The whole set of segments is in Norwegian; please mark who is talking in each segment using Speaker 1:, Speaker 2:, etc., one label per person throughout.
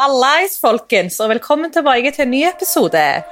Speaker 1: Hallais, folkens, og velkommen tilbake til en ny episode.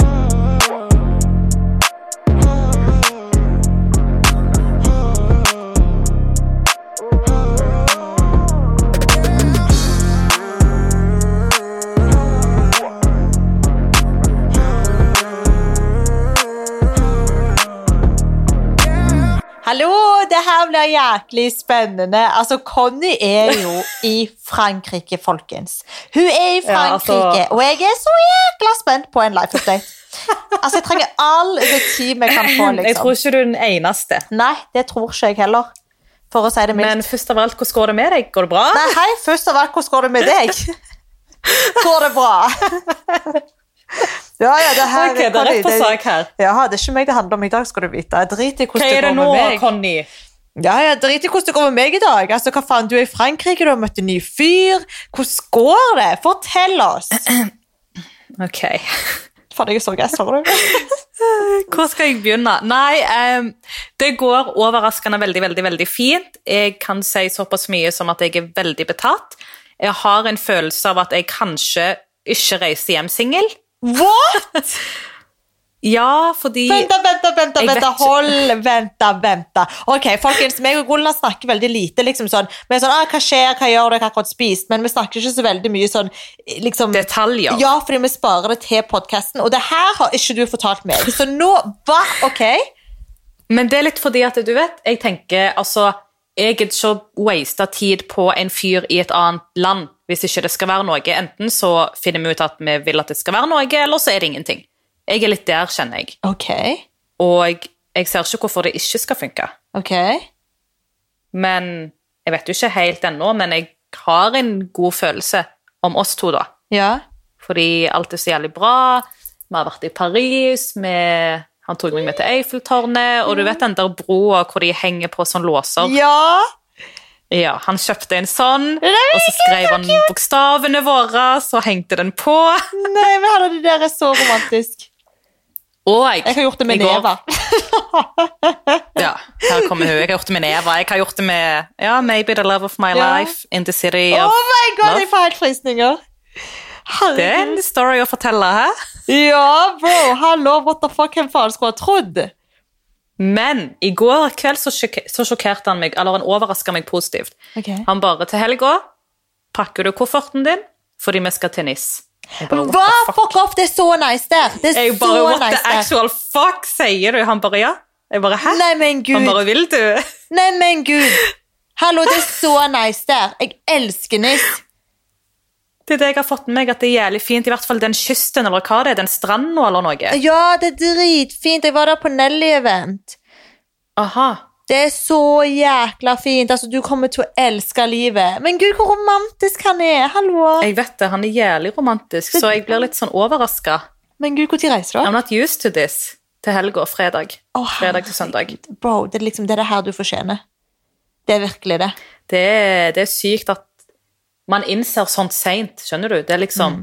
Speaker 1: Hallo, det her blir jæklig spennende. Altså, Conny er jo i Frankrike, folkens. Hun er i
Speaker 2: Ja, altså-
Speaker 1: Frankrike, og jeg er så jækla spent på en life update. Altså, jeg trenger all det tid vi kan få,
Speaker 2: Jeg tror
Speaker 1: liksom.
Speaker 2: ikke du er den eneste.
Speaker 1: Nei, det tror ikke jeg heller, for å si det mildt.
Speaker 2: Men først av alt, hvordan går det med deg? Går det bra?
Speaker 1: Nei, hei, først av alt, hvordan går det med deg? Går det bra? Ja, ja, det her
Speaker 2: Ok, det er rett på sak her.
Speaker 1: Ja, det er ikke meg det handler om i dag, skal du vite. Drit i
Speaker 2: Hva
Speaker 1: hvordan det
Speaker 2: er det
Speaker 1: går
Speaker 2: nå,
Speaker 1: med meg.
Speaker 2: Conny?
Speaker 1: Ja, ja, drit i hvordan det går med meg i dag. Altså, hva faen, du er i Frankrike, du har møtt en ny fyr. Hvordan går det? Fortell oss!
Speaker 2: Ok.
Speaker 1: Faen, jeg er så gass, hører du?
Speaker 2: Hvor skal jeg begynne? Nei, em, det går overraskende veldig, veldig, veldig fint. Jeg kan si såpass mye som at jeg er veldig betatt. Jeg har en følelse av at jeg kanskje ikke reiser hjem singel.
Speaker 1: What?!
Speaker 2: Ja, fordi
Speaker 1: Vent, da, vent, da, vent, da,
Speaker 2: Jeg
Speaker 1: vent, da,
Speaker 2: vet ikke.
Speaker 1: hold, vent, da, vent. da. Ok, folkens, meg og Gunnar snakker veldig lite, liksom sånn. Vi er sånn, ah, hva skjer, hva gjør dere, hva har akkurat spist? Men vi snakker ikke så veldig mye sånn, liksom...
Speaker 2: Detaljer.
Speaker 1: Ja, fordi vi sparer det til podcasten, og det her har ikke du fortalt meg. Så nå, hva, ok?
Speaker 2: Men det er litt fordi at du vet, jeg tenker altså Jeg gidder ikke å waste tid på en fyr i et annet land hvis ikke det skal være noe. Enten så finner vi ut at vi vil at det skal være noe, eller så er det ingenting. Jeg er litt der, kjenner jeg.
Speaker 1: Ok,
Speaker 2: Og jeg, jeg ser ikke hvorfor det ikke skal funke.
Speaker 1: ok.
Speaker 2: Men jeg vet jo ikke helt ennå, men jeg har en god følelse om oss to, da.
Speaker 1: Ja,
Speaker 2: Fordi alt er så jævlig bra. Vi har vært i Paris. Vi, han tok meg med til Eiffeltårnet. Og du vet den der broa hvor de henger på sånn låser?
Speaker 1: ja.
Speaker 2: Ja, han kjøpte en sånn,
Speaker 1: er jo
Speaker 2: og så skrev han bokstavene våre, så hengte den på.
Speaker 1: Nei, men herre, det der er så romantisk.
Speaker 2: Og jeg,
Speaker 1: Jeg har gjort det med
Speaker 2: i går-
Speaker 1: Neva.
Speaker 2: Ja, her kommer hun. Jeg har gjort det med Neva. Jeg har gjort det med ja, Maybe the love of my
Speaker 1: Ja.
Speaker 2: life in the city. Of,
Speaker 1: Oh my god,
Speaker 2: Love.
Speaker 1: jeg får helt frysninger.
Speaker 2: Det er
Speaker 1: Herregud.
Speaker 2: en story å fortelle her.
Speaker 1: Ja, bro, hallo, what the fuck, hvem faen skulle ha trodd?
Speaker 2: Men i går kveld så, sjok så sjokkerte han meg, eller han overraska meg positivt.
Speaker 1: Ok.
Speaker 2: Han bare til helga pakker du kofferten din fordi vi skal til NIS. Jeg bare,
Speaker 1: Hva? Fuck off, det er så nice der! Det er
Speaker 2: Jeg
Speaker 1: så
Speaker 2: bare, What
Speaker 1: nice
Speaker 2: the
Speaker 1: der.
Speaker 2: actual fuck, sier du? Han bare ja. Jeg bare hæ?
Speaker 1: Nei, men
Speaker 2: Han
Speaker 1: gud.
Speaker 2: bare vil du?
Speaker 1: Nei, men gud. Hallo, det er så nice der. Jeg elsker Nis.
Speaker 2: Det er det jeg har fått med meg, at det er jævlig fint. I hvert fall den kysten, eller hva det er, den stranden eller noe.
Speaker 1: Ja, det er dritfint. Jeg var der på Nelly-event.
Speaker 2: Aha.
Speaker 1: Det er så jækla fint. Altså, du kommer til å elske livet. Men gud, hvor romantisk han er. Hallo.
Speaker 2: Jeg vet det, han er jævlig romantisk, så jeg blir litt sånn overraska.
Speaker 1: Men gud, når reiser du?
Speaker 2: I'm not used to this. Til helga og fredag.
Speaker 1: Å,
Speaker 2: Fredag til søndag.
Speaker 1: Bro, det er liksom det, er det her du fortjener. Det er virkelig det.
Speaker 2: Det er, det er sykt at man innser sånt seint, skjønner du? Det er liksom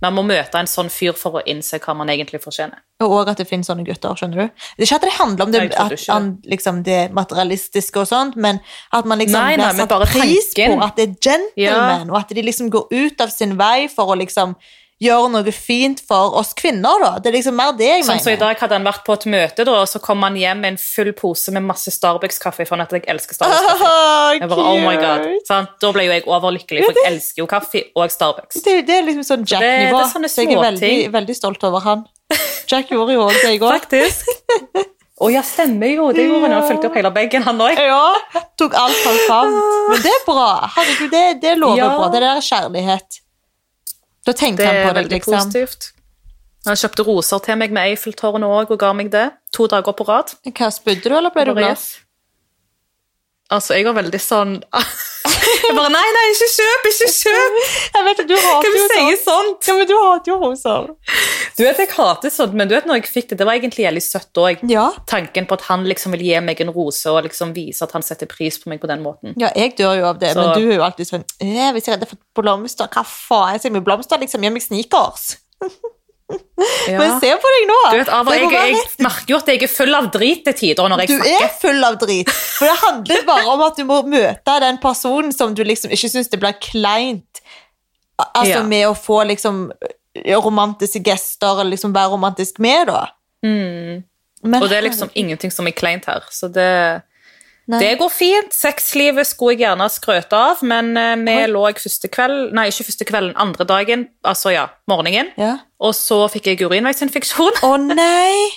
Speaker 2: Man må møte en sånn fyr for å innse hva man egentlig fortjener.
Speaker 1: Og også at det finnes sånne gutter, skjønner du? Det er ikke at det handler om det,
Speaker 2: Jeg trodde
Speaker 1: at,
Speaker 2: ikke det.
Speaker 1: an- liksom, det materialistiske og sånt, men at man liksom
Speaker 2: Nei, nei,
Speaker 1: blir
Speaker 2: men
Speaker 1: satt
Speaker 2: bare
Speaker 1: pris
Speaker 2: tanken.
Speaker 1: på at det er gentlemen,
Speaker 2: Ja.
Speaker 1: og at de liksom går ut av sin vei for å liksom gjøre noe fint for oss kvinner, da. Det er liksom mer det jeg
Speaker 2: Sånn som I
Speaker 1: mener.
Speaker 2: dag hadde han vært på et møte, da, og så kom han hjem med en full pose med masse Starbucks-kaffe. For han at jeg elsker Starbucks. Jeg bare, oh my god.
Speaker 1: Cute.
Speaker 2: Sant? Da ble jo jeg overlykkelig, for jeg elsker jo kaffe og Starbucks.
Speaker 1: Det, det er liksom sånn
Speaker 2: det
Speaker 1: Jack-nivå.
Speaker 2: er sånne
Speaker 1: Så jeg er veldig,
Speaker 2: småting.
Speaker 1: veldig stolt over han. Jack gjorde jo også det i går.
Speaker 2: Faktisk. Å ja, stemmer jo. Det gjorde han. Han fulgte opp hele bagen, han òg.
Speaker 1: Ja, tok alt han fant. Men det er bra. Herregud, det, det lover
Speaker 2: Ja.
Speaker 1: bra. Det der er kjærlighet. Da tenkte
Speaker 2: Det
Speaker 1: han
Speaker 2: er
Speaker 1: på det,
Speaker 2: veldig
Speaker 1: liksom.
Speaker 2: positivt. Han kjøpte roser til meg med Eiffeltårnet òg, og ga meg det. To dager på rad.
Speaker 1: Hva spydde du, eller ble du
Speaker 2: Bare,
Speaker 1: blaff?
Speaker 2: yes. Altså, jeg var veldig sånn Jeg bare Nei, nei, ikke kjøp! Ikke kjøp!
Speaker 1: Jeg vet at du hater
Speaker 2: Kan du
Speaker 1: jo
Speaker 2: si
Speaker 1: sånt.
Speaker 2: sånt?
Speaker 1: Ja, men du hater jo sånn. roser.
Speaker 2: Du vet, Jeg hater sånt, men du vet når jeg fikk det, det var egentlig jævlig søtt òg.
Speaker 1: Ja.
Speaker 2: Tanken på at han liksom vil gi meg en rose og liksom vise at han setter pris på meg på den måten.
Speaker 1: Ja, jeg dør jo av det,
Speaker 2: Så-
Speaker 1: men du er jo alltid sånn «Eh, Hvis jeg hadde fått blomster, hva faen? Jeg med blomster, liksom. Gi meg sneakers.
Speaker 2: Ja.
Speaker 1: Men se på deg nå!
Speaker 2: Du vet, Ava,
Speaker 1: Det
Speaker 2: jeg,
Speaker 1: går bare
Speaker 2: jeg
Speaker 1: rett-
Speaker 2: merker jo at jeg er full av drit til tider når jeg
Speaker 1: du er full av drit. For det handler bare om at du må møte den personen som du liksom ikke syns det blir kleint Altså
Speaker 2: Ja.
Speaker 1: med å få liksom romantiske gester, eller liksom være romantisk med, da. Men-
Speaker 2: Mm. Og det er liksom ingenting som er kleint her, så det
Speaker 1: Nei.
Speaker 2: Det går fint. Sexlivet skulle jeg gjerne skrøte av, men eh, vi lå jeg første kveld, nei, ikke første kvelden, andre dagen, altså ja, morgenen.
Speaker 1: Ja.
Speaker 2: Og så fikk jeg urinveisinfeksjon,
Speaker 1: Å nei!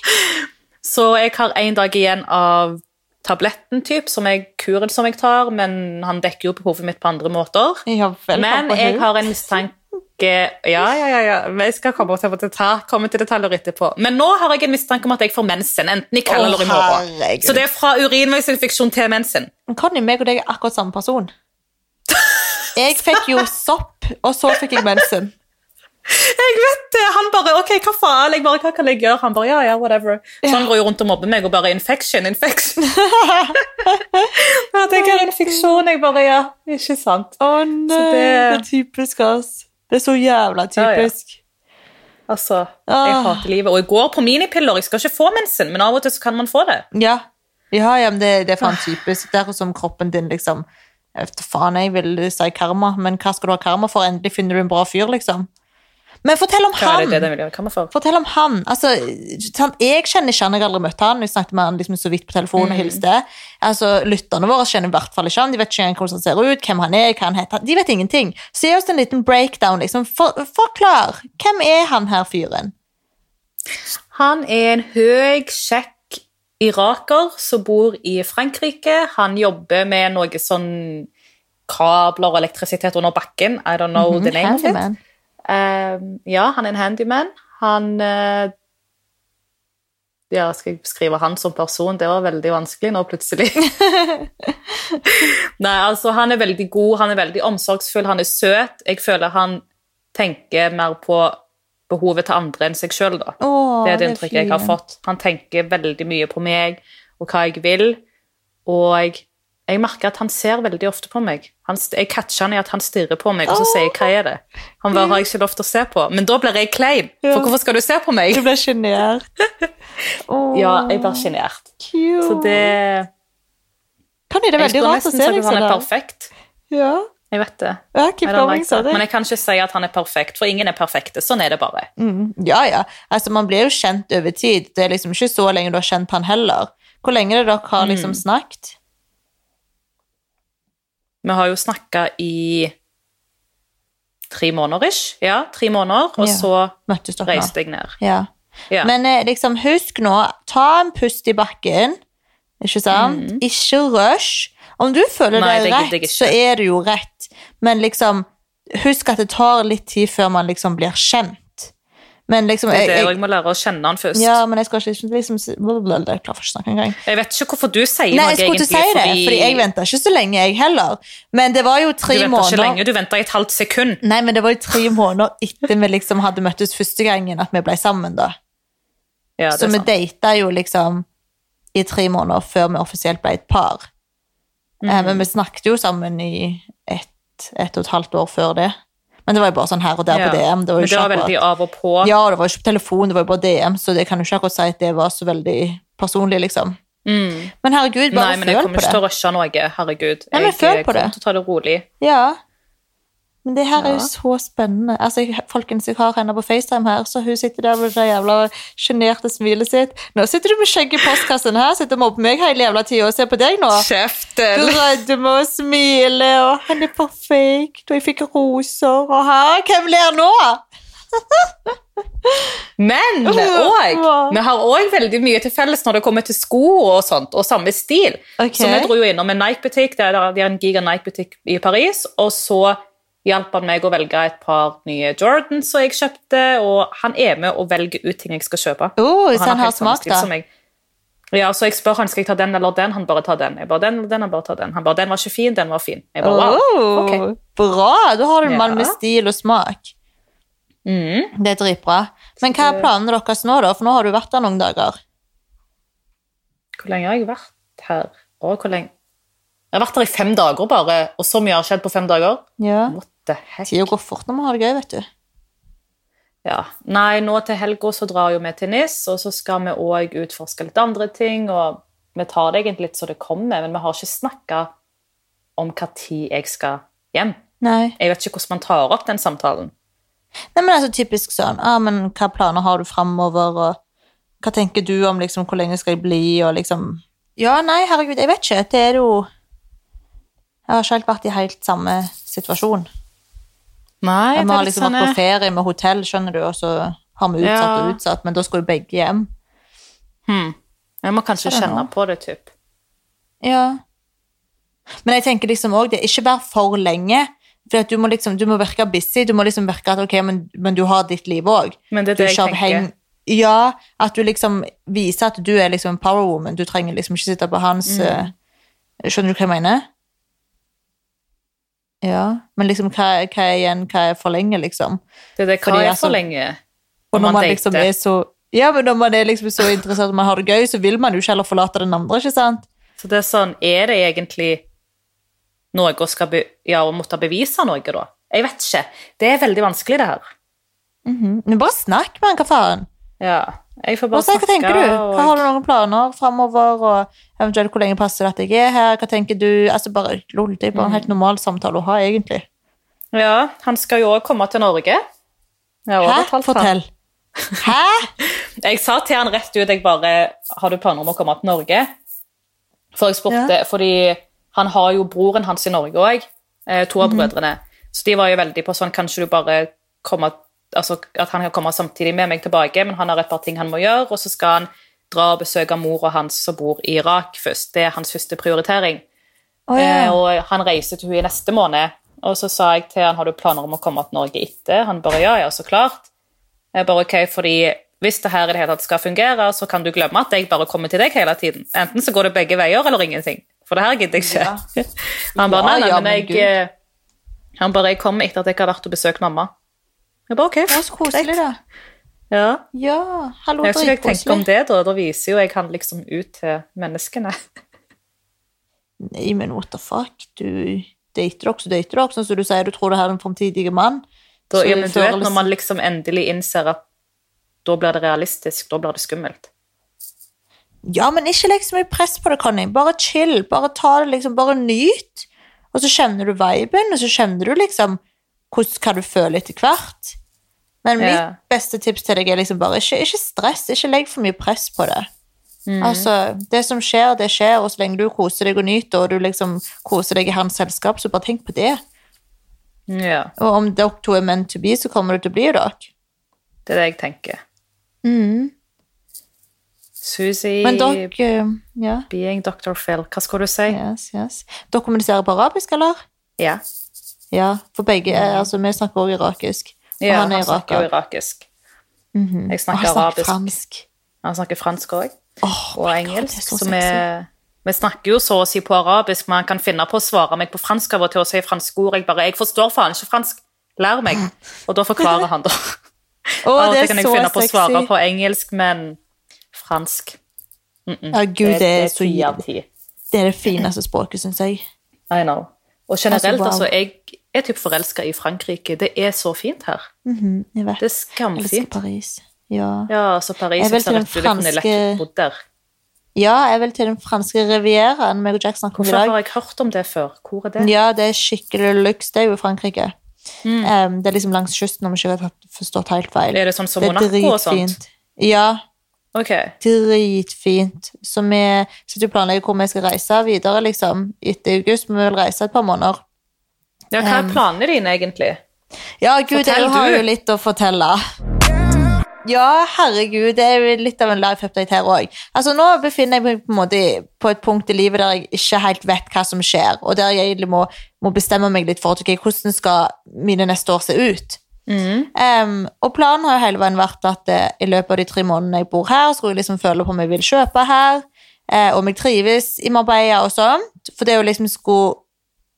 Speaker 2: så jeg har en dag igjen av tabletten typ, som jeg, kuren som jeg tar, men han dekker jo behovet mitt på andre måter.
Speaker 1: Ja vel,
Speaker 2: Men
Speaker 1: pappa,
Speaker 2: jeg
Speaker 1: hun.
Speaker 2: har en mistanke Ja, ja, ja. ja. Men Jeg skal komme til, detalj, komme til detaljer etterpå. Men nå har jeg en mistanke om at jeg får mensen, enten i kveld
Speaker 1: Å,
Speaker 2: eller i morgen.
Speaker 1: herregud.
Speaker 2: Så det er fra urinveisinfeksjon til mensen.
Speaker 1: Conny, meg og deg er akkurat samme person. Jeg fikk jo sopp, og så fikk jeg mensen.
Speaker 2: Jeg vet det! Han bare OK, hva faen? Jeg bare, hva kan jeg gjøre? Han bare ja, ja, whatever. Så han går jo rundt og mobber meg og bare infection, infection. At jeg har infeksjon. Jeg bare ja, ikke sant.
Speaker 1: Å nei,
Speaker 2: Så
Speaker 1: det...
Speaker 2: det-
Speaker 1: er typisk oss. Det er så jævla
Speaker 2: Ja, ja.
Speaker 1: typisk.
Speaker 2: Altså, jeg
Speaker 1: Ah.
Speaker 2: hater livet. Og jeg går på minipiller. Jeg skal ikke få mensen, men av og til så kan man få det.
Speaker 1: Ja, ja. ja, men det, det er
Speaker 2: Ah.
Speaker 1: faen typisk. Det er som kroppen din liksom jeg vet da Faen, jeg vil si karma, men hva skal du ha karma for? Endelig finner du en bra fyr, liksom. Men fortell om
Speaker 2: Hva er det
Speaker 1: han!
Speaker 2: det den vil gjøre? Hva man får?
Speaker 1: Fortell om han. Altså, sant, jeg kjenner ikke han, jeg har aldri møtt han. Jeg snakket med han liksom så vidt på telefonen og
Speaker 2: Mm.
Speaker 1: hilste. Altså, lytterne våre kjenner i hvert fall ikke han. De vet ikke engang hvordan han ser ut, hvem han er, hva han heter. De vet ingenting. Så gi oss en liten breakdown, liksom. For, forklar. Hvem er han her fyren?
Speaker 2: Han er en høy, kjekk iraker som bor i Frankrike. Han jobber med noe sånn kabler og elektrisitet under bakken. I don't know
Speaker 1: Mm,
Speaker 2: the name of it.
Speaker 1: Mhm, Handyman.
Speaker 2: Ehm, ja, han er en handyman. Han eh, Ja, skal jeg beskrive han som person? Det var veldig vanskelig nå, plutselig. Nei, altså, han er veldig god, han er veldig omsorgsfull, han er søt. Jeg føler han tenker mer på behovet til andre enn seg sjøl, da.
Speaker 1: Åh,
Speaker 2: det er
Speaker 1: det er
Speaker 2: det inntrykket jeg har
Speaker 1: fint.
Speaker 2: fått. Han tenker veldig mye på meg og hva jeg vil, og jeg merker at han ser veldig ofte på meg. Han, st- jeg catcher han i at han stirrer på meg, og så sier jeg 'hva er det?' Han bare 'har jeg ikke lov til å se på'? Men da blir jeg klein,
Speaker 1: Ja.
Speaker 2: for hvorfor skal du se på
Speaker 1: Du
Speaker 2: meg?
Speaker 1: ble sjenert. Åh,
Speaker 2: Ja, jeg blir sjenert.
Speaker 1: cute.
Speaker 2: Så det
Speaker 1: Kan det er
Speaker 2: Jeg
Speaker 1: veldig
Speaker 2: skulle
Speaker 1: rart å
Speaker 2: nesten
Speaker 1: se
Speaker 2: sagt
Speaker 1: deg
Speaker 2: at han
Speaker 1: sånn.
Speaker 2: er
Speaker 1: da.
Speaker 2: perfekt.
Speaker 1: Ja,
Speaker 2: Jeg vet det.
Speaker 1: jeg har ikke
Speaker 2: I don't like
Speaker 1: påvirket
Speaker 2: that.
Speaker 1: det.
Speaker 2: Men jeg kan ikke si at han er perfekt, for ingen er perfekte. Sånn er det bare.
Speaker 1: Mm, ja, ja. Altså, man blir jo kjent over tid. Det er liksom ikke så lenge du har kjent han heller. Hvor lenge er det dere har liksom
Speaker 2: Mm.
Speaker 1: snakket?
Speaker 2: Vi har jo snakka i tre måneder ish. Ja, tre måneder, og
Speaker 1: Ja.
Speaker 2: så
Speaker 1: Møttes dere nå?
Speaker 2: reiste jeg ned.
Speaker 1: Ja.
Speaker 2: Ja.
Speaker 1: Men eh, liksom, husk nå, ta en pust i bakken, ikke sant? Ikke rush. Om du føler
Speaker 2: Mhm. Nei, det
Speaker 1: det er
Speaker 2: gidder jeg
Speaker 1: rett,
Speaker 2: ikke.
Speaker 1: så er det jo rett. Men liksom, husk at det tar litt tid før man liksom blir kjent. Men liksom,
Speaker 2: Det er
Speaker 1: jeg,
Speaker 2: det, og
Speaker 1: jeg,
Speaker 2: jeg må lære å kjenne han først.
Speaker 1: ja, men jeg skal ikke liksom, si- blablabla, jeg klarer for ikke å snakke engang.
Speaker 2: Jeg vet ikke hvorfor du sier
Speaker 1: Nei,
Speaker 2: noe,
Speaker 1: jeg skulle
Speaker 2: egentlig.
Speaker 1: ikke si det, fordi jeg venta ikke så lenge, jeg heller. Men det var jo
Speaker 2: du
Speaker 1: tre
Speaker 2: venter
Speaker 1: måneder Mm.
Speaker 2: ikke lenge, du venter i et halvt sekund.
Speaker 1: Nei, men det var jo tre måneder etter vi liksom hadde møttes første gangen at vi ble sammen, da.
Speaker 2: Ja, det
Speaker 1: Så
Speaker 2: er
Speaker 1: vi
Speaker 2: sant.
Speaker 1: data jo liksom i tre måneder før vi offisielt ble et par. Eh, Men vi
Speaker 2: Mm.
Speaker 1: snakket jo sammen i ett ett og et halvt år før det. Men det var jo bare sånn her og der
Speaker 2: Ja.
Speaker 1: på DM. Det
Speaker 2: Men
Speaker 1: var jo
Speaker 2: det
Speaker 1: ikke
Speaker 2: var veldig
Speaker 1: akkurat
Speaker 2: av og på.
Speaker 1: Ja, det var jo ikke på telefon, det var jo bare DM, så det kan jo ikke akkurat si at det var så veldig personlig, liksom. Men herregud, bare
Speaker 2: Mm. Nei, men jeg
Speaker 1: føl
Speaker 2: kommer
Speaker 1: på
Speaker 2: ikke til å
Speaker 1: det.
Speaker 2: rushe noe. Herregud.
Speaker 1: Nei, men
Speaker 2: jeg
Speaker 1: føl
Speaker 2: eh,
Speaker 1: på det.
Speaker 2: kommer til å ta det rolig.
Speaker 1: Ja. Men det her er
Speaker 2: Ja.
Speaker 1: jo så spennende. Altså, jeg, folkens, jeg har henne på FaceTime her, så hun sitter der med det jævla sjenerte smilet sitt. Nå sitter du med skjegg i postkassen her, sitter og mobber meg hele jævla tida og ser på deg nå. Du
Speaker 2: Kjeften!
Speaker 1: rødde med å smile, og han er perfekt, og jeg fikk roser, og her, hvem ler nå?
Speaker 2: Men òg Vi har òg veldig mye til felles når det kommer til sko og sånt, og samme stil.
Speaker 1: Ok.
Speaker 2: Så vi dro jo innom en Nike-butikk, det er der- de har en giga Nike-butikk i Paris, og så hjalp han meg å velge et par nye Jordans som jeg kjøpte, og han er med og velger ut ting jeg skal kjøpe.
Speaker 1: Oh,
Speaker 2: Og
Speaker 1: så han har
Speaker 2: helt samme
Speaker 1: smak,
Speaker 2: stil
Speaker 1: da.
Speaker 2: som meg. Ja, så jeg spør han, skal jeg ta den eller den? Han bare, ta den. Jeg bare, den eller den? Han bare, ta den. Han bare, den var ikke fin, den var fin. Jeg bare, wow.
Speaker 1: Oh,
Speaker 2: Ok.
Speaker 1: Bra! Da har du en mann
Speaker 2: Ja.
Speaker 1: med stil og smak.
Speaker 2: Mm.
Speaker 1: Det er dritbra. Men hva er planene deres nå, da? For nå har du vært der noen dager.
Speaker 2: Hvor lenge har jeg vært her? Å, hvor lenge? Jeg har vært her i fem dager bare, og så mye har skjedd på fem dager.
Speaker 1: Ja.
Speaker 2: What the heck?
Speaker 1: Tida går fort når man har det gøy, vet du.
Speaker 2: Ja. Nei, nå til helga så drar jo vi til NIS, og så skal vi òg utforske litt andre ting. Og vi tar det egentlig litt så det kommer, men vi har ikke snakka om hva tid jeg skal hjem.
Speaker 1: Nei.
Speaker 2: Jeg vet ikke hvordan man tar opp den samtalen.
Speaker 1: Nei, men altså typisk sånn, ah, men hva planer har du fremover, og hva tenker du om liksom, hvor lenge skal jeg bli, og liksom Ja, nei, herregud, jeg vet ikke. Det er jo Jeg har ikke helt vært i helt samme situasjon.
Speaker 2: Nei,
Speaker 1: Vi har liksom vært på ferie med hotell, skjønner du, og så har vi utsatt
Speaker 2: sånn, eh, Ja.
Speaker 1: og utsatt, men da skal jo begge hjem.
Speaker 2: Jeg må kanskje
Speaker 1: Skjønner
Speaker 2: kjenne
Speaker 1: nå.
Speaker 2: på det, typ.
Speaker 1: Ja. Men jeg tenker liksom òg det, ikke vær for lenge. For at du må liksom, du må virke busy, du må liksom virke at ok, men, men du har ditt liv òg.
Speaker 2: Men det er
Speaker 1: Du
Speaker 2: det jeg
Speaker 1: ikke
Speaker 2: tenker.
Speaker 1: avheng- Ja, at du liksom viser at du er liksom en power woman. Du trenger liksom ikke sitte på hans
Speaker 2: Mm.
Speaker 1: eh, Skjønner du hva jeg mener? Ja, men liksom hva, hva er igjen, hva er for lenge, liksom?
Speaker 2: Det er det hva
Speaker 1: Fordi
Speaker 2: er
Speaker 1: altså-
Speaker 2: for lenge
Speaker 1: Og når man,
Speaker 2: dater.
Speaker 1: liksom er så Ja, men når man er liksom så interessert og man har det gøy, så vil man jo ikke heller forlate den andre, ikke sant?
Speaker 2: Så det er sånn, er det egentlig noe å skal be ja, å måtte bevise noe, da? Jeg vet ikke. Det er veldig vanskelig, det her.
Speaker 1: Mhm. Men bare snakk med han, hva faen?
Speaker 2: Ja. Jeg får
Speaker 1: Bare
Speaker 2: bare
Speaker 1: si hva
Speaker 2: snakke,
Speaker 1: tenker du? Hva har
Speaker 2: og
Speaker 1: du noen planer fremover, og eventuelt hvor lenge passer det at jeg er her? Hva tenker du? Altså bare, lol, det er
Speaker 2: Mm.
Speaker 1: bare en helt normal samtale å ha, egentlig.
Speaker 2: Ja, han skal jo òg komme til Norge. Jeg har
Speaker 1: Hæ?
Speaker 2: overtalt han.
Speaker 1: Fortell.
Speaker 2: Eh,
Speaker 1: Hæ?
Speaker 2: Jeg sa til han rett ut jeg bare, Har du planer om å komme til Norge? For jeg spurte, fordi han har jo broren hans i Norge òg, to av brødrene. Så de var jo veldig på sånn Kanskje du bare kommer altså, At han kan komme samtidig med meg tilbake, men han har et par ting han må gjøre, og så skal han dra og besøke mora hans som bor i Irak først. Det er hans første prioritering.
Speaker 1: Å
Speaker 2: Eh,
Speaker 1: ja.
Speaker 2: Og han reiser til henne neste måned. Og så sa jeg til han, har du planer om å komme til Norge etter? Han bare, ja, ja, så klart. Jeg bare, ok, fordi hvis det her i det hele tatt skal fungere, så kan du glemme at jeg bare kommer til deg hele tiden. Enten så går det begge veier eller ingenting. For det her gidder jeg ikke. Han bare,
Speaker 1: Ja,
Speaker 2: nei, nei,
Speaker 1: ja,
Speaker 2: men
Speaker 1: men
Speaker 2: jeg... eh, Han bare, jeg kommer etter at jeg har vært og besøkt mamma. Jeg bare, ok.
Speaker 1: Det var så koselig, da.
Speaker 2: Ja.
Speaker 1: Ja, hallo,
Speaker 2: Jeg vet ikke hva jeg tenker om
Speaker 1: dritkoselig.
Speaker 2: det da. Da viser jo jeg han liksom ut til menneskene.
Speaker 1: Nei, men what the fuck? Du dater dere, så dater dere. Sånn som du sier, du tror det her er en fremtidige mann.
Speaker 2: Da,
Speaker 1: Så
Speaker 2: ja, men du
Speaker 1: før
Speaker 2: vet,
Speaker 1: eller
Speaker 2: når man liksom endelig innser at da blir det realistisk, da blir det skummelt.
Speaker 1: Ja, men ikke legg så mye press på det, Conny. Bare chill. Bare ta det, liksom. Bare nyt. Og så kjenner du viben, og så kjenner du liksom hvordan, hva du føler etter hvert. Men
Speaker 2: Ja.
Speaker 1: mitt beste tips til deg er liksom bare ikke, ikke stress. Ikke legg for mye press på det. Altså, det som skjer, det skjer, og så lenge du koser deg og nyter, og du liksom koser deg i hans selskap, så bare tenk på det.
Speaker 2: Ja,
Speaker 1: Og om dere to er meant to be, så kommer det til å bli dere.
Speaker 2: det er det jeg tenker. Mm. Susi
Speaker 1: Men dere eh, Ja.
Speaker 2: being Dr. Phil, hva skulle du si? Ja.
Speaker 1: Yes, yes. Dere kommuniserer på arabisk, eller? Ja, for begge er, altså vi snakker også irakisk. Og
Speaker 2: Mm. Ja,
Speaker 1: han er
Speaker 2: snakker jo
Speaker 1: iraker.
Speaker 2: irakisk. Jeg
Speaker 1: Og
Speaker 2: Mhm. snakker Oh
Speaker 1: han snakker
Speaker 2: arabisk.
Speaker 1: fransk.
Speaker 2: Han snakker fransk òg,
Speaker 1: Åh,
Speaker 2: og
Speaker 1: my God,
Speaker 2: engelsk.
Speaker 1: det er
Speaker 2: så
Speaker 1: så
Speaker 2: vi, vi snakker jo så å si på arabisk, men han kan finne på å svare meg på fransk av og til og si franske ord. Jeg bare 'Jeg forstår faen ikke fransk, lær meg.' Og da forklarer han, da.
Speaker 1: Å,
Speaker 2: Av og
Speaker 1: det
Speaker 2: til
Speaker 1: er
Speaker 2: kan jeg
Speaker 1: så
Speaker 2: finne på å svare
Speaker 1: sexy.
Speaker 2: på engelsk, men fransk
Speaker 1: Ja, gud, det er, så,
Speaker 2: ti av ti.
Speaker 1: det er det fineste språket, synes jeg.
Speaker 2: I know. Og generelt,
Speaker 1: Altså,
Speaker 2: altså,
Speaker 1: wow.
Speaker 2: jeg er typ forelska i Frankrike. Det er så fint her.
Speaker 1: Mhm, jeg vet.
Speaker 2: Det er
Speaker 1: Jeg elsker
Speaker 2: skamfint.
Speaker 1: Paris. Ja.
Speaker 2: Ja, altså Paris
Speaker 1: Jeg vil til eh,
Speaker 2: ser
Speaker 1: den
Speaker 2: rett ut. Jeg kunne lett
Speaker 1: franske-
Speaker 2: bodd der.
Speaker 1: ja, jeg vil til den franske rivieraen meg og Jack snakker om i
Speaker 2: Hvorfor
Speaker 1: dag.
Speaker 2: har jeg hørt om det før? Hvor er det? Mm.
Speaker 1: Ja, det er skikkelig lyks. Det er jo i Frankrike. Em, det er liksom langs kysten, om jeg ikke har tatt- forstått helt feil.
Speaker 2: Er det sånn som
Speaker 1: Det er
Speaker 2: Monaco og sånt?
Speaker 1: dritfint. Ja,
Speaker 2: Ok.
Speaker 1: dritfint. Så vi sitter og planlegger hvor vi skal reise videre, liksom. Etter august, men vi vil reise et par måneder.
Speaker 2: Ja, hva
Speaker 1: Um,
Speaker 2: er planene dine, egentlig?
Speaker 1: Ja, gud,
Speaker 2: Fortell
Speaker 1: jeg har
Speaker 2: du.
Speaker 1: jo litt å fortelle. Ja, herregud, det er jo litt av en life update her òg. Altså, nå befinner jeg meg på en måte i- på et punkt i livet der jeg ikke helt vet hva som skjer, og der jeg egentlig må, må bestemme meg litt for okay, hvordan skal mine neste år se ut.
Speaker 2: Mm.
Speaker 1: Em, og planen har jo hele veien vært at eh, i løpet av de tre månedene jeg bor her, skulle jeg liksom føle på om jeg vil kjøpe her, eh, om jeg trives i Marbella og sånt. For det å liksom skulle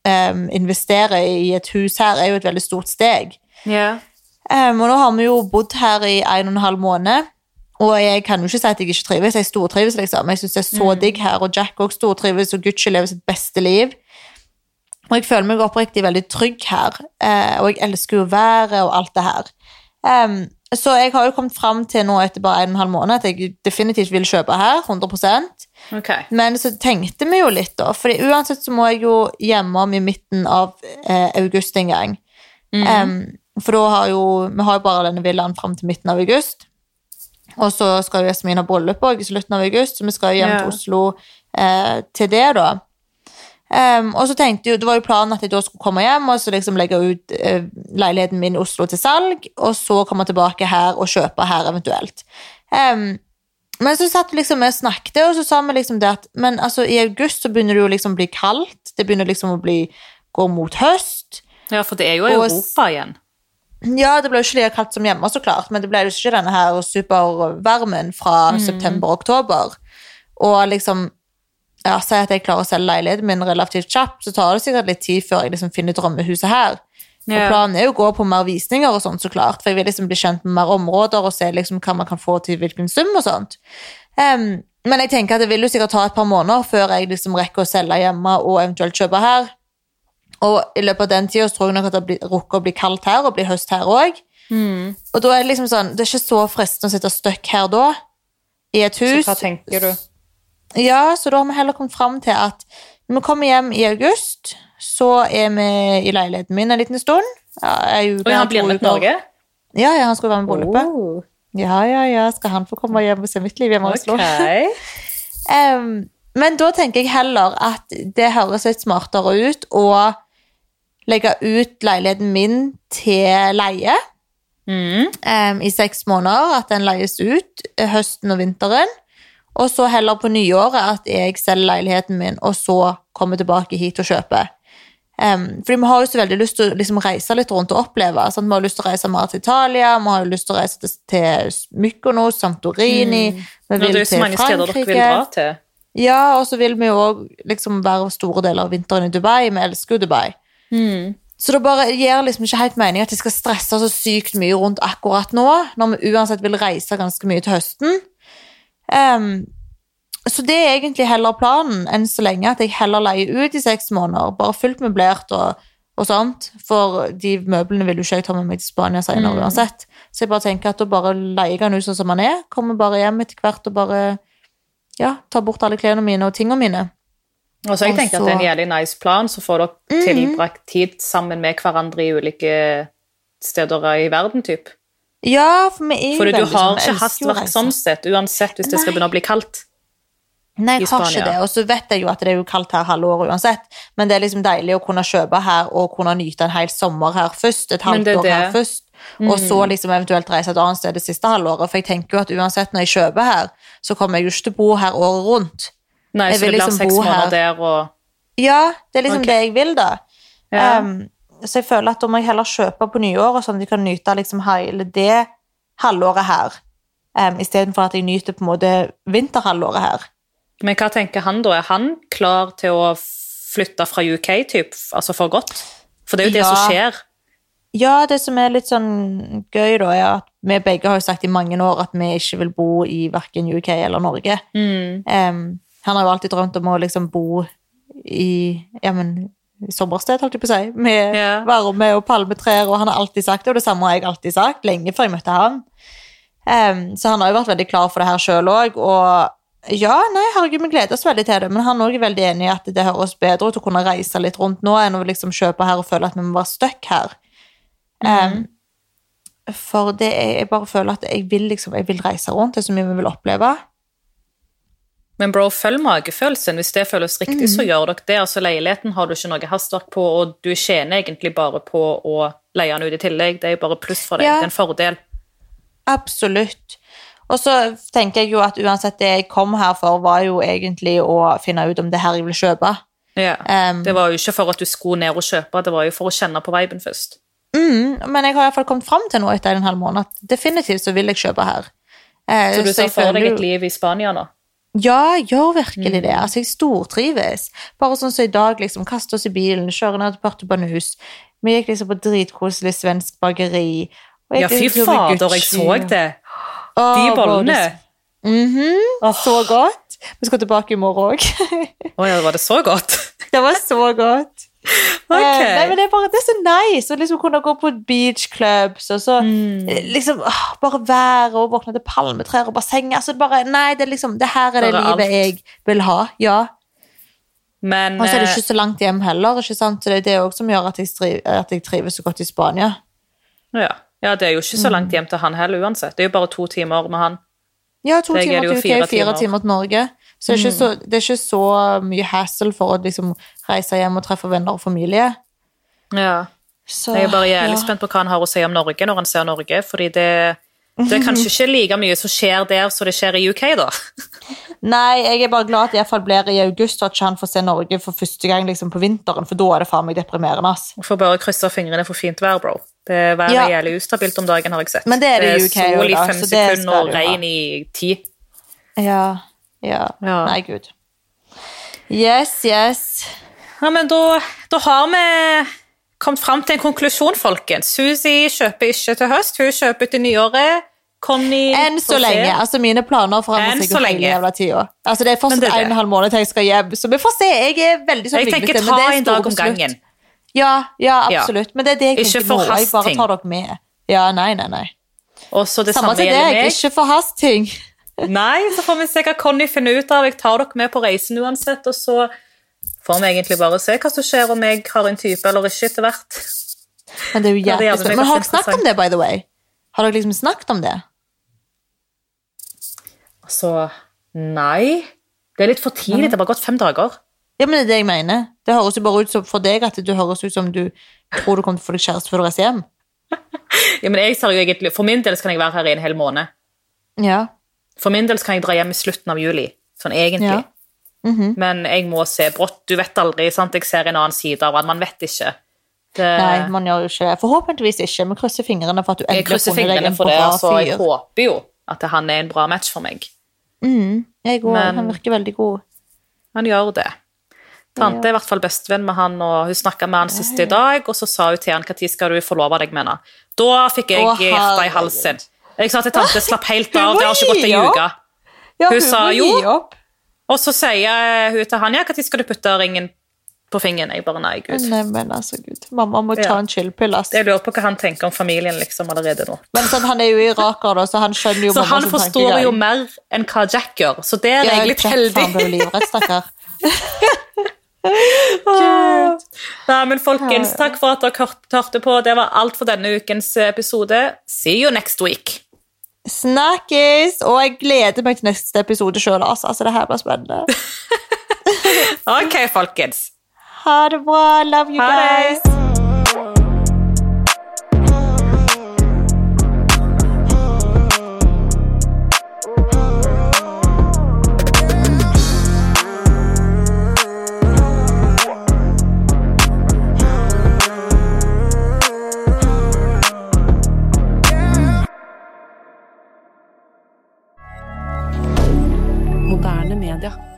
Speaker 1: em, investere i et hus her er jo et veldig stort steg.
Speaker 2: Ja.
Speaker 1: Em, Ehm, og nå har vi jo bodd her i en og en halv måned, og jeg kan jo ikke si at jeg ikke trives. Jeg stortrives, liksom. Jeg syns det er så digg her, og Jack òg stortrives, og Gucci lever sitt beste liv. Og jeg føler meg oppriktig veldig trygg her, eh, og jeg elsker jo været og alt det her. Ehm, Em, så jeg har jo kommet fram til nå etter bare en og en halv måned at jeg definitivt vil kjøpe her, 100
Speaker 2: Ok.
Speaker 1: Men så tenkte vi jo litt, da. Fordi uansett så må jeg jo hjemom i midten av eh, august en gang. Em, for da har jo Vi har jo bare denne villaen fram til midten av august. Og så skal jo Jasmin ha bryllup også i slutten av august, så vi skal jo hjem
Speaker 2: Ja.
Speaker 1: til Oslo eh, til det, da. Em, og så tenkte jo, Det var jo planen at jeg da skulle komme hjem og så liksom legge ut eh, leiligheten min i Oslo til salg, og så komme tilbake her og kjøpe her eventuelt. Em, men så satt vi liksom vi og snakket, og så sa vi liksom det at Men altså, i august så begynner det jo liksom å bli kaldt. Det begynner liksom å bli gå mot høst.
Speaker 2: Ja, for det er jo
Speaker 1: Og-
Speaker 2: Europa igjen.
Speaker 1: Ja, det ble jo ikke like kaldt som hjemme, så klart, men det ble jo ikke denne her supervarmen fra september-oktober. Og liksom ja, Si at jeg klarer å selge leiligheten min relativt kjapt, så tar det sikkert litt tid før jeg liksom finner drømmehuset her.
Speaker 2: Ja.
Speaker 1: Og planen er jo å gå på mer visninger og sånt, så klart, for jeg vil liksom bli kjent med mer områder og se liksom hva man kan få til hvilken sum og sånt. Em, men jeg tenker at det vil jo sikkert ta et par måneder før jeg liksom rekker å selge hjemme og eventuelt kjøpe her. Og i løpet av den tida så tror jeg nok at det blir, rukker å bli kaldt her og bli høst her òg.
Speaker 2: Mm.
Speaker 1: Og da er det liksom sånn, det er ikke så fristende å sitte stuck her da, i et hus.
Speaker 2: tenker du?
Speaker 1: Ja, så da har vi heller kommet fram til at når vi kommer hjem i august, så er vi i leiligheten min en liten stund. Ja, ei uke,
Speaker 2: Og han blir
Speaker 1: to
Speaker 2: med til
Speaker 1: uker.
Speaker 2: Norge?
Speaker 1: Ja, ja, han skal være med i bryllupet.
Speaker 2: Oh,
Speaker 1: Ja, ja, ja, skal han få komme hjem og se mitt liv hjemme i Oslo?
Speaker 2: ok.
Speaker 1: Em, men da tenker jeg heller at det høres litt smartere ut å legge ut leiligheten min til leie
Speaker 2: Mm.
Speaker 1: em, i seks måneder, at den leies ut eh, høsten og vinteren. Og så heller på nyåret at jeg selger leiligheten min, og så kommer tilbake hit og kjøper. Um, fordi vi har jo så veldig lyst til å liksom, reise litt rundt og oppleve. Sant? Vi har lyst til å reise mer til Italia, vi har jo lyst til å reise til, til Mykonos, Santorini Vi
Speaker 2: Mm. Nå,
Speaker 1: vil
Speaker 2: det er jo så
Speaker 1: til
Speaker 2: mange steder dere vil
Speaker 1: Frankrike.
Speaker 2: dra til.
Speaker 1: Ja, og så vil vi jo òg liksom være store deler av vinteren i Dubai. Vi elsker jo Dubai. Så det bare gir liksom ikke helt mening at jeg skal stresse så sykt mye rundt akkurat nå, når vi uansett vil reise ganske mye til høsten. Ehm, så det er egentlig heller planen enn så lenge, at jeg heller leier ut i seks måneder, bare fullt møblert og, og sånt, for de møblene vil jo ikke jeg ta med meg til Spania senere uansett. Så jeg bare tenker at da bare leier jeg han ut sånn som han er, kommer bare hjem etter hvert og bare ja, tar bort alle klærne mine og tingene mine.
Speaker 2: Og så Altså, jeg
Speaker 1: Og
Speaker 2: tenker at
Speaker 1: så- Mm.
Speaker 2: det er en jævlig nice plan, så får dere tilbrakt tid sammen med hverandre i ulike steder i verden, typ.
Speaker 1: Ja, for vi er jo
Speaker 2: Fordi du
Speaker 1: veldig sånn,
Speaker 2: har
Speaker 1: vi
Speaker 2: ikke
Speaker 1: elsker jo å
Speaker 2: hastverk
Speaker 1: reise.
Speaker 2: sånn sett, uansett hvis det skal begynne å bli kaldt.
Speaker 1: Nei, jeg
Speaker 2: i
Speaker 1: har
Speaker 2: Spania.
Speaker 1: ikke det, og så vet jeg jo at det er jo kaldt her halve året uansett, men det er liksom deilig å kunne kjøpe her og kunne nyte en hel sommer her først, et
Speaker 2: Men
Speaker 1: halvt
Speaker 2: det er
Speaker 1: år her
Speaker 2: det. Mm.
Speaker 1: først, og så liksom eventuelt reise et annet sted det siste halvåret, for jeg tenker jo at uansett når jeg kjøper her, så kommer jeg jo ikke til å bo her året rundt.
Speaker 2: Nei,
Speaker 1: Jeg
Speaker 2: så det
Speaker 1: vil
Speaker 2: blir
Speaker 1: liksom
Speaker 2: seks
Speaker 1: bo her.
Speaker 2: måneder der og
Speaker 1: Ja, det er liksom
Speaker 2: Ok.
Speaker 1: det jeg vil da.
Speaker 2: Ja.
Speaker 1: Um, så jeg føler at da må jeg heller kjøpe på nyåret, sånn at jeg kan nyte liksom hele det halvåret her, um, i stedet for at jeg nyter på en måte vinterhalvåret her.
Speaker 2: Men hva tenker han da? Er han klar til å flytte fra UK, typ? Altså for godt? For det er jo det
Speaker 1: Ja.
Speaker 2: som skjer.
Speaker 1: Ja, det som er litt sånn gøy da, er at vi begge har jo sagt i mange år at vi ikke vil bo i hverken UK eller Norge.
Speaker 2: Mm.
Speaker 1: Em, han har jo alltid drømt om å liksom bo i, ja, men, i sommersted, holdt jeg på å si, med
Speaker 2: Ja.
Speaker 1: varme og palmetrær, og han har alltid sagt det, og det samme har jeg alltid sagt, lenge før jeg møtte han. Em, så han har jo vært veldig klar for det her sjøl òg, og ja, nei, herregud, vi gleder oss veldig til det, men han er også veldig enig i at det høres bedre ut å kunne reise litt rundt nå enn å liksom kjøpe her og føle at vi må være stuck her. Em, for det er, jeg bare føler at jeg vil, liksom, jeg vil reise rundt, det er så mye vi vil oppleve.
Speaker 2: Men bro, følg magefølelsen. Hvis det føles riktig, så gjør dere det. Altså Leiligheten har du ikke noe hastverk på, og du tjener egentlig bare på å leie den ut i tillegg. Det er jo bare pluss for deg.
Speaker 1: Ja.
Speaker 2: Det er en fordel.
Speaker 1: Absolutt. Og så tenker jeg jo at uansett det jeg kom her for, var jo egentlig å finne ut om det her jeg vil kjøpe.
Speaker 2: Ja.
Speaker 1: Em.
Speaker 2: Um, det var jo ikke for at du skulle ned og kjøpe, det var jo for å kjenne på viben først.
Speaker 1: Mm, men jeg har i hvert fall kommet fram til nå etter en halv måned at definitivt så vil jeg kjøpe her. Eh,
Speaker 2: Så du ser
Speaker 1: jeg
Speaker 2: for
Speaker 1: føler
Speaker 2: deg
Speaker 1: jo-
Speaker 2: et liv Mm. i Spania nå?
Speaker 1: Ja, jeg gjør virkelig det. Altså, jeg stortrives. Bare sånn som i dag, liksom. Kaste oss i bilen, kjøre ned til Puerto Banús. Vi gikk liksom på dritkoselig svensk bakeri. Og jeg
Speaker 2: Ja, fy
Speaker 1: gikk en tur med
Speaker 2: fader, jeg så
Speaker 1: Gucci.
Speaker 2: det.
Speaker 1: Åh,
Speaker 2: De
Speaker 1: bro,
Speaker 2: bollene.
Speaker 1: det- Så godt. Vi skal tilbake i morgen òg.
Speaker 2: Å ja, var det så godt?
Speaker 1: Det var så godt. Eh, Nei, men det er bare det er så nice å liksom kunne gå på beach clubs og så
Speaker 2: Mm.
Speaker 1: eh, liksom åh, bare være og våkne til palmetrær og basseng. Altså bare Nei, det er liksom Det her er det
Speaker 2: Bare
Speaker 1: livet
Speaker 2: alt.
Speaker 1: jeg vil ha. Ja.
Speaker 2: Men
Speaker 1: Og så er Altså, det
Speaker 2: eh,
Speaker 1: ikke så langt hjem heller, ikke sant? Så det er det også som gjør at jeg, stri- at jeg trives så godt i Spania.
Speaker 2: ja. ja, det er jo ikke så langt hjem til han heller uansett. Det er jo bare to timer med han.
Speaker 1: Ja, to
Speaker 2: Det er
Speaker 1: timer
Speaker 2: jo
Speaker 1: til UK,
Speaker 2: fire
Speaker 1: fire timer.
Speaker 2: timer. Mm.
Speaker 1: til Norge. Så det er, ikke så det er ikke så mye hassle for å liksom reise hjem og treffe venner og familie.
Speaker 2: Ja.
Speaker 1: Så,
Speaker 2: Jeg er bare jævlig
Speaker 1: ja.
Speaker 2: spent på hva han har å si om Norge når han ser Norge, fordi det, det er kanskje ikke like mye som skjer der som det skjer i UK, da.
Speaker 1: Nei, jeg er bare glad at jeg iallfall blir i august, og at ikke han får se Norge for første gang liksom, på vinteren, for da er det faen meg deprimerende. ass.
Speaker 2: Får bare krysse fingrene for fint vær, bro. Det Været
Speaker 1: Ja.
Speaker 2: er jævlig ustabilt om dagen, har jeg sett.
Speaker 1: Men det er det i UK
Speaker 2: er sol i
Speaker 1: også, da,
Speaker 2: fem
Speaker 1: så det
Speaker 2: sekunder
Speaker 1: skal
Speaker 2: og
Speaker 1: det jo
Speaker 2: regn i ti.
Speaker 1: Ja, ja.
Speaker 2: Ja.
Speaker 1: Nei, gud. Yes, yes.
Speaker 2: Ja, men da, da har vi kommet fram til en konklusjon, folkens. Susi kjøper ikke til høst, hun kjøper til nyåret. Conny
Speaker 1: Enn
Speaker 2: får
Speaker 1: så
Speaker 2: se.
Speaker 1: lenge. Altså, mine planer forandrer
Speaker 2: Enn
Speaker 1: seg
Speaker 2: så
Speaker 1: jo hele
Speaker 2: lenge.
Speaker 1: jævla tida. Altså, det er fortsatt
Speaker 2: Men det er det.
Speaker 1: en og en halv måned til jeg skal hjem, så vi får se. Jeg er veldig sånn
Speaker 2: Jeg tenker
Speaker 1: vinglete, men
Speaker 2: ta
Speaker 1: det er
Speaker 2: en
Speaker 1: store
Speaker 2: dag om
Speaker 1: beslut.
Speaker 2: gangen.
Speaker 1: Ja, ja,
Speaker 2: Ja.
Speaker 1: absolutt. Men det er det jeg
Speaker 2: Ikke
Speaker 1: tenker nå.
Speaker 2: forhast
Speaker 1: Jeg bare
Speaker 2: ting.
Speaker 1: tar dere med. Ja, nei, nei, nei.
Speaker 2: Og så det
Speaker 1: Samme
Speaker 2: samme
Speaker 1: til
Speaker 2: gjelder
Speaker 1: deg.
Speaker 2: meg.
Speaker 1: Ikke forhast ting.
Speaker 2: Nei, så får vi se hva Conny finner ut av. Jeg tar dere med på reisen uansett, og så får vi egentlig bare se hva som skjer om jeg har en type eller ikke etter hvert.
Speaker 1: Men det er jo
Speaker 2: Ja, det er
Speaker 1: jævlig
Speaker 2: jævlig
Speaker 1: spennende. Men har dere
Speaker 2: interessant.
Speaker 1: snakket om det, by the way? Har dere liksom snakket om det?
Speaker 2: Altså, nei. Det er litt for tidlig. Det har bare gått fem dager.
Speaker 1: Ja, men det er det jeg mener. Det høres jo bare ut som for deg at du høres ut som du tror du kommer til å få deg kjæreste før du reiser hjem.
Speaker 2: Ja, men jeg ser jo egentlig, For min del så kan jeg være her i en hel måned.
Speaker 1: Ja.
Speaker 2: For min del så kan jeg dra hjem i slutten av juli. Sånn egentlig.
Speaker 1: Ja. Mhm.
Speaker 2: Men jeg må se brått. Du vet aldri. sant? Jeg ser en annen side av han. Man vet ikke. Det,
Speaker 1: Nei, man gjør jo ikke det. Forhåpentligvis ikke. Vi krysser fingrene for at du
Speaker 2: jeg
Speaker 1: endelig
Speaker 2: krysser
Speaker 1: har funnet deg
Speaker 2: fingrene
Speaker 1: en
Speaker 2: for det,
Speaker 1: bra
Speaker 2: så jeg
Speaker 1: fyr.
Speaker 2: håper jo at han er en bra match for meg.
Speaker 1: Mm, jeg òg.
Speaker 2: Men-
Speaker 1: Han virker veldig god.
Speaker 2: Han gjør det. Tante er i hvert fall bestevenn med han, og hun snakka med han sist i dag, og så sa hun til han når skal du forlove deg med henne. Da fikk jeg
Speaker 1: Å,
Speaker 2: hjertet i
Speaker 1: herregud.
Speaker 2: halsen. Jeg sa til tante slapp helt
Speaker 1: Hun
Speaker 2: av,
Speaker 1: må
Speaker 2: det har ikke gått
Speaker 1: gi
Speaker 2: ei
Speaker 1: opp.
Speaker 2: uke.
Speaker 1: Ja,
Speaker 2: Hun sa
Speaker 1: må gi
Speaker 2: jo.
Speaker 1: opp.
Speaker 2: Og så sier hun til han ja, når skal du putte ringen på fingeren? Jeg bare nei, gud.
Speaker 1: Nei, men altså, gud. Mamma må ta
Speaker 2: Ja.
Speaker 1: en chill-pill, ass.
Speaker 2: Jeg lurer på hva han tenker om familien liksom allerede nå.
Speaker 1: Men sånn, han er jo iraker, da, så han skjønner jo
Speaker 2: Så han
Speaker 1: mammas
Speaker 2: forstår jo mer enn hva Jack gjør, så der er
Speaker 1: Ja,
Speaker 2: jeg litt
Speaker 1: Jack,
Speaker 2: heldig.
Speaker 1: Han ble jo livredd, stakkar.
Speaker 2: Nei, men folkens, takk for at dere hørt- hørte på. Det var alt for denne ukens episode. See you next week.
Speaker 1: Snakkes! Og jeg gleder meg til neste episode sjøl. Altså. altså, det her blir spennende.
Speaker 2: Ok, folkens.
Speaker 1: Ha det bra! Love you
Speaker 2: Ha det.
Speaker 1: guys!
Speaker 3: Moderne media.